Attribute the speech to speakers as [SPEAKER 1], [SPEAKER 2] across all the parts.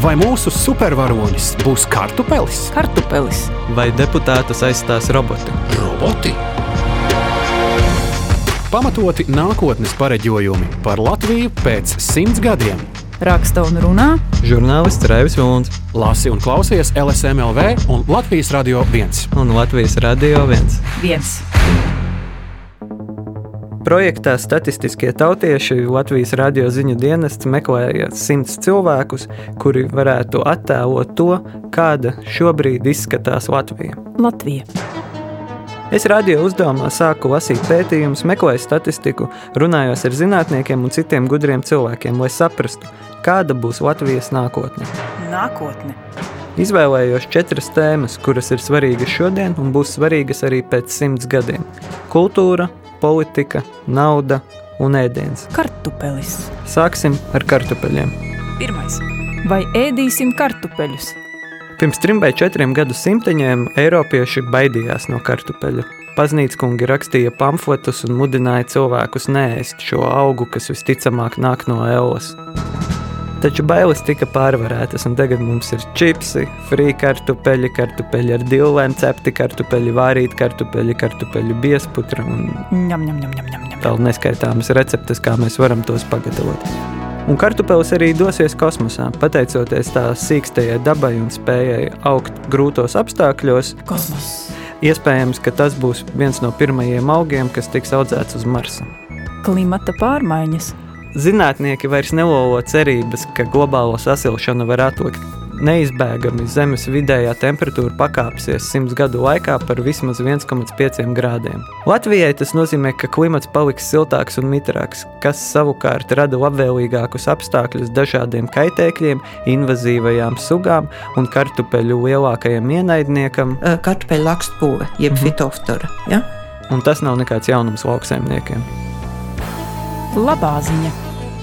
[SPEAKER 1] Vai mūsu supervaronis būs kartupelis?
[SPEAKER 2] Kartupelis.
[SPEAKER 3] vai deputātus aizstās roboti.
[SPEAKER 1] Roboti! Pamatoti nākotnes pareģojumi par Latviju pēc simts gadiem.
[SPEAKER 2] Raksta un runā
[SPEAKER 3] Žurnālists Raivis Vilns
[SPEAKER 1] Lasi un klausies LSMLV un Latvijas Radio 1.
[SPEAKER 3] un Latvijas Radio 1.
[SPEAKER 2] viens.
[SPEAKER 3] Projektā statistiskie tautieši Latvijas radio ziņu dienests meklēja simts cilvēkus, kuri varētu attēlot to, kāda šobrīd izskatās Latvija.
[SPEAKER 2] Latvija.
[SPEAKER 3] Es radio uzdevumā sāku lasīt pētījumus, meklēju statistiku, runājos ar zinātniekiem un citiem gudriem cilvēkiem, lai saprastu, kāda būs Latvijas nākotne.
[SPEAKER 2] Nākotne.
[SPEAKER 3] Izvēlējos četras tēmas, kuras ir svarīgas šodien un būs svarīgas arī pēc simts gadiem - kultūra, politika, nauda un ēdiens.
[SPEAKER 2] Kartupelis.
[SPEAKER 3] Sāksim ar kartupeļiem.
[SPEAKER 2] Pirmais. Vai ēdīsim kartupeļus?
[SPEAKER 3] Pirms trim vai četriem gadu simteņiem Eiropieši baidījās no kartupeļa. Paznīckungi rakstīja pamfletus un mudināja cilvēkus neēst šo augu, kas visticamāk nāk no Ellas. Taču bailes tika pārvarētas, un tagad mums ir čipsi, frī kartupeļi, kartupeļi ar dilēm, cepti kartupeļi, vārīti kartupeļi, kartupeļu biesputra un
[SPEAKER 2] Ņem, ņem, ņem, ņem, ņem. ņem.
[SPEAKER 3] vēl neskaitāmas receptes, kā mēs varam tos pagatavot. Un kartupelis arī dosies kosmosā, pateicoties tās sīkstajai dabai un spējai augt grūtos apstākļos.
[SPEAKER 2] Kosmos.
[SPEAKER 3] Iespējams, ka tas būs viens no pirmajiem augiem, kas tiks audzēts uz Marsa.
[SPEAKER 2] Klimata pārmaiņas.
[SPEAKER 3] Zinātnieki vairs nelolo cerības, ka globālo sasilšanu var atlikt. Neizbēgami zemes vidējā temperatūra pakāpsies 100 gadu laikā par vismaz 1,5 grādiem. Latvijai tas nozīmē, ka klimats paliks siltāks un mitrāks, kas savukārt rada labvēlīgākus apstākļus dažādiem kaitēkļiem, invazīvajām sugām un kartupeļu lielākajam ienaidniekam,
[SPEAKER 4] Eh, kartupeļu lakstpūve, jeb mm -hmm. fitoftora. Ja?
[SPEAKER 3] un tas nav nekāds jaunums lauksaimniekiem.
[SPEAKER 2] Labā ziņa.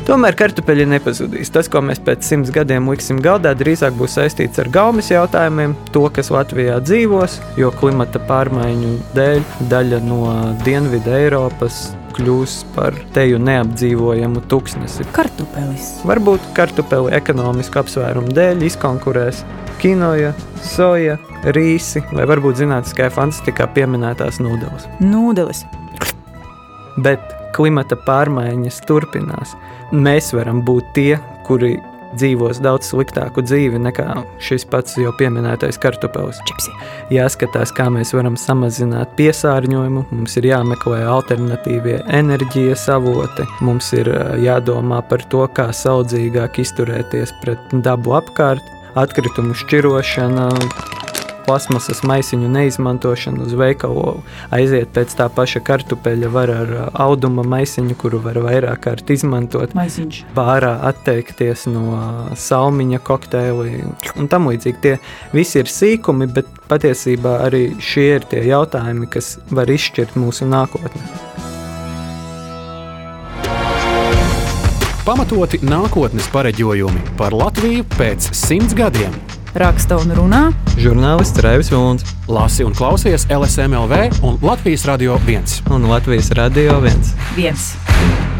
[SPEAKER 3] Tomēr kartupeļi nepazudīs. Tas, ko mēs pēc simts gadiem liksim galdā, drīzāk būs saistīts ar gaumas jautājumiem, to, kas Latvijā dzīvos, jo klimata pārmaiņu dēļ daļa no Dienvidu Eiropas kļūs par teju neapdzīvojamu tuksnesi.
[SPEAKER 2] Kartupelis.
[SPEAKER 3] Varbūt kartupeli ekonomisku apsvērumu dēļ izkonkurēs kinoja, soja, rīsi vai varbūt zinātniskajā fantastikā pieminētās nodeļas.
[SPEAKER 2] Nūdeles.
[SPEAKER 3] Bet klimata pārmaiņas turpinās. Mēs varam būt tie, kuri dzīvos daudz sliktāku dzīvi nekā šis pats jau pieminētais kartupelis.
[SPEAKER 2] Čipsi.
[SPEAKER 3] Jāskatās, kā mēs varam samazināt piesārņojumu, mums ir jāmeklē alternatīvie enerģijas avoti, mums ir ā, jādomā par to, kā saudzīgāk izturēties pret dabu apkārt, atkritumu šķirošana. Plasmasas maisiņu neizmantošanu uz veikalu aiziet pēc tā paša kartupeļa, var ar ā, auduma maisiņu, kuru var vairāk kārt izmantot,
[SPEAKER 2] Maiziņš.
[SPEAKER 3] bārā atteikties no ā, salmiņa kokteiliem un tam līdzīgi. Tie visi ir sīkumi, bet patiesībā arī šie ir tie jautājumi, kas var izšķirt mūsu nākotni.
[SPEAKER 1] Pamatoti nākotnes pareģojumi par Latviju pēc simts gadiem.
[SPEAKER 2] Raksta un runā
[SPEAKER 3] Žurnālists Raivis Vilns
[SPEAKER 1] Lasi un klausies LSMLV un Latvijas Radio 1.
[SPEAKER 3] un Latvijas Radio 1.
[SPEAKER 2] viens.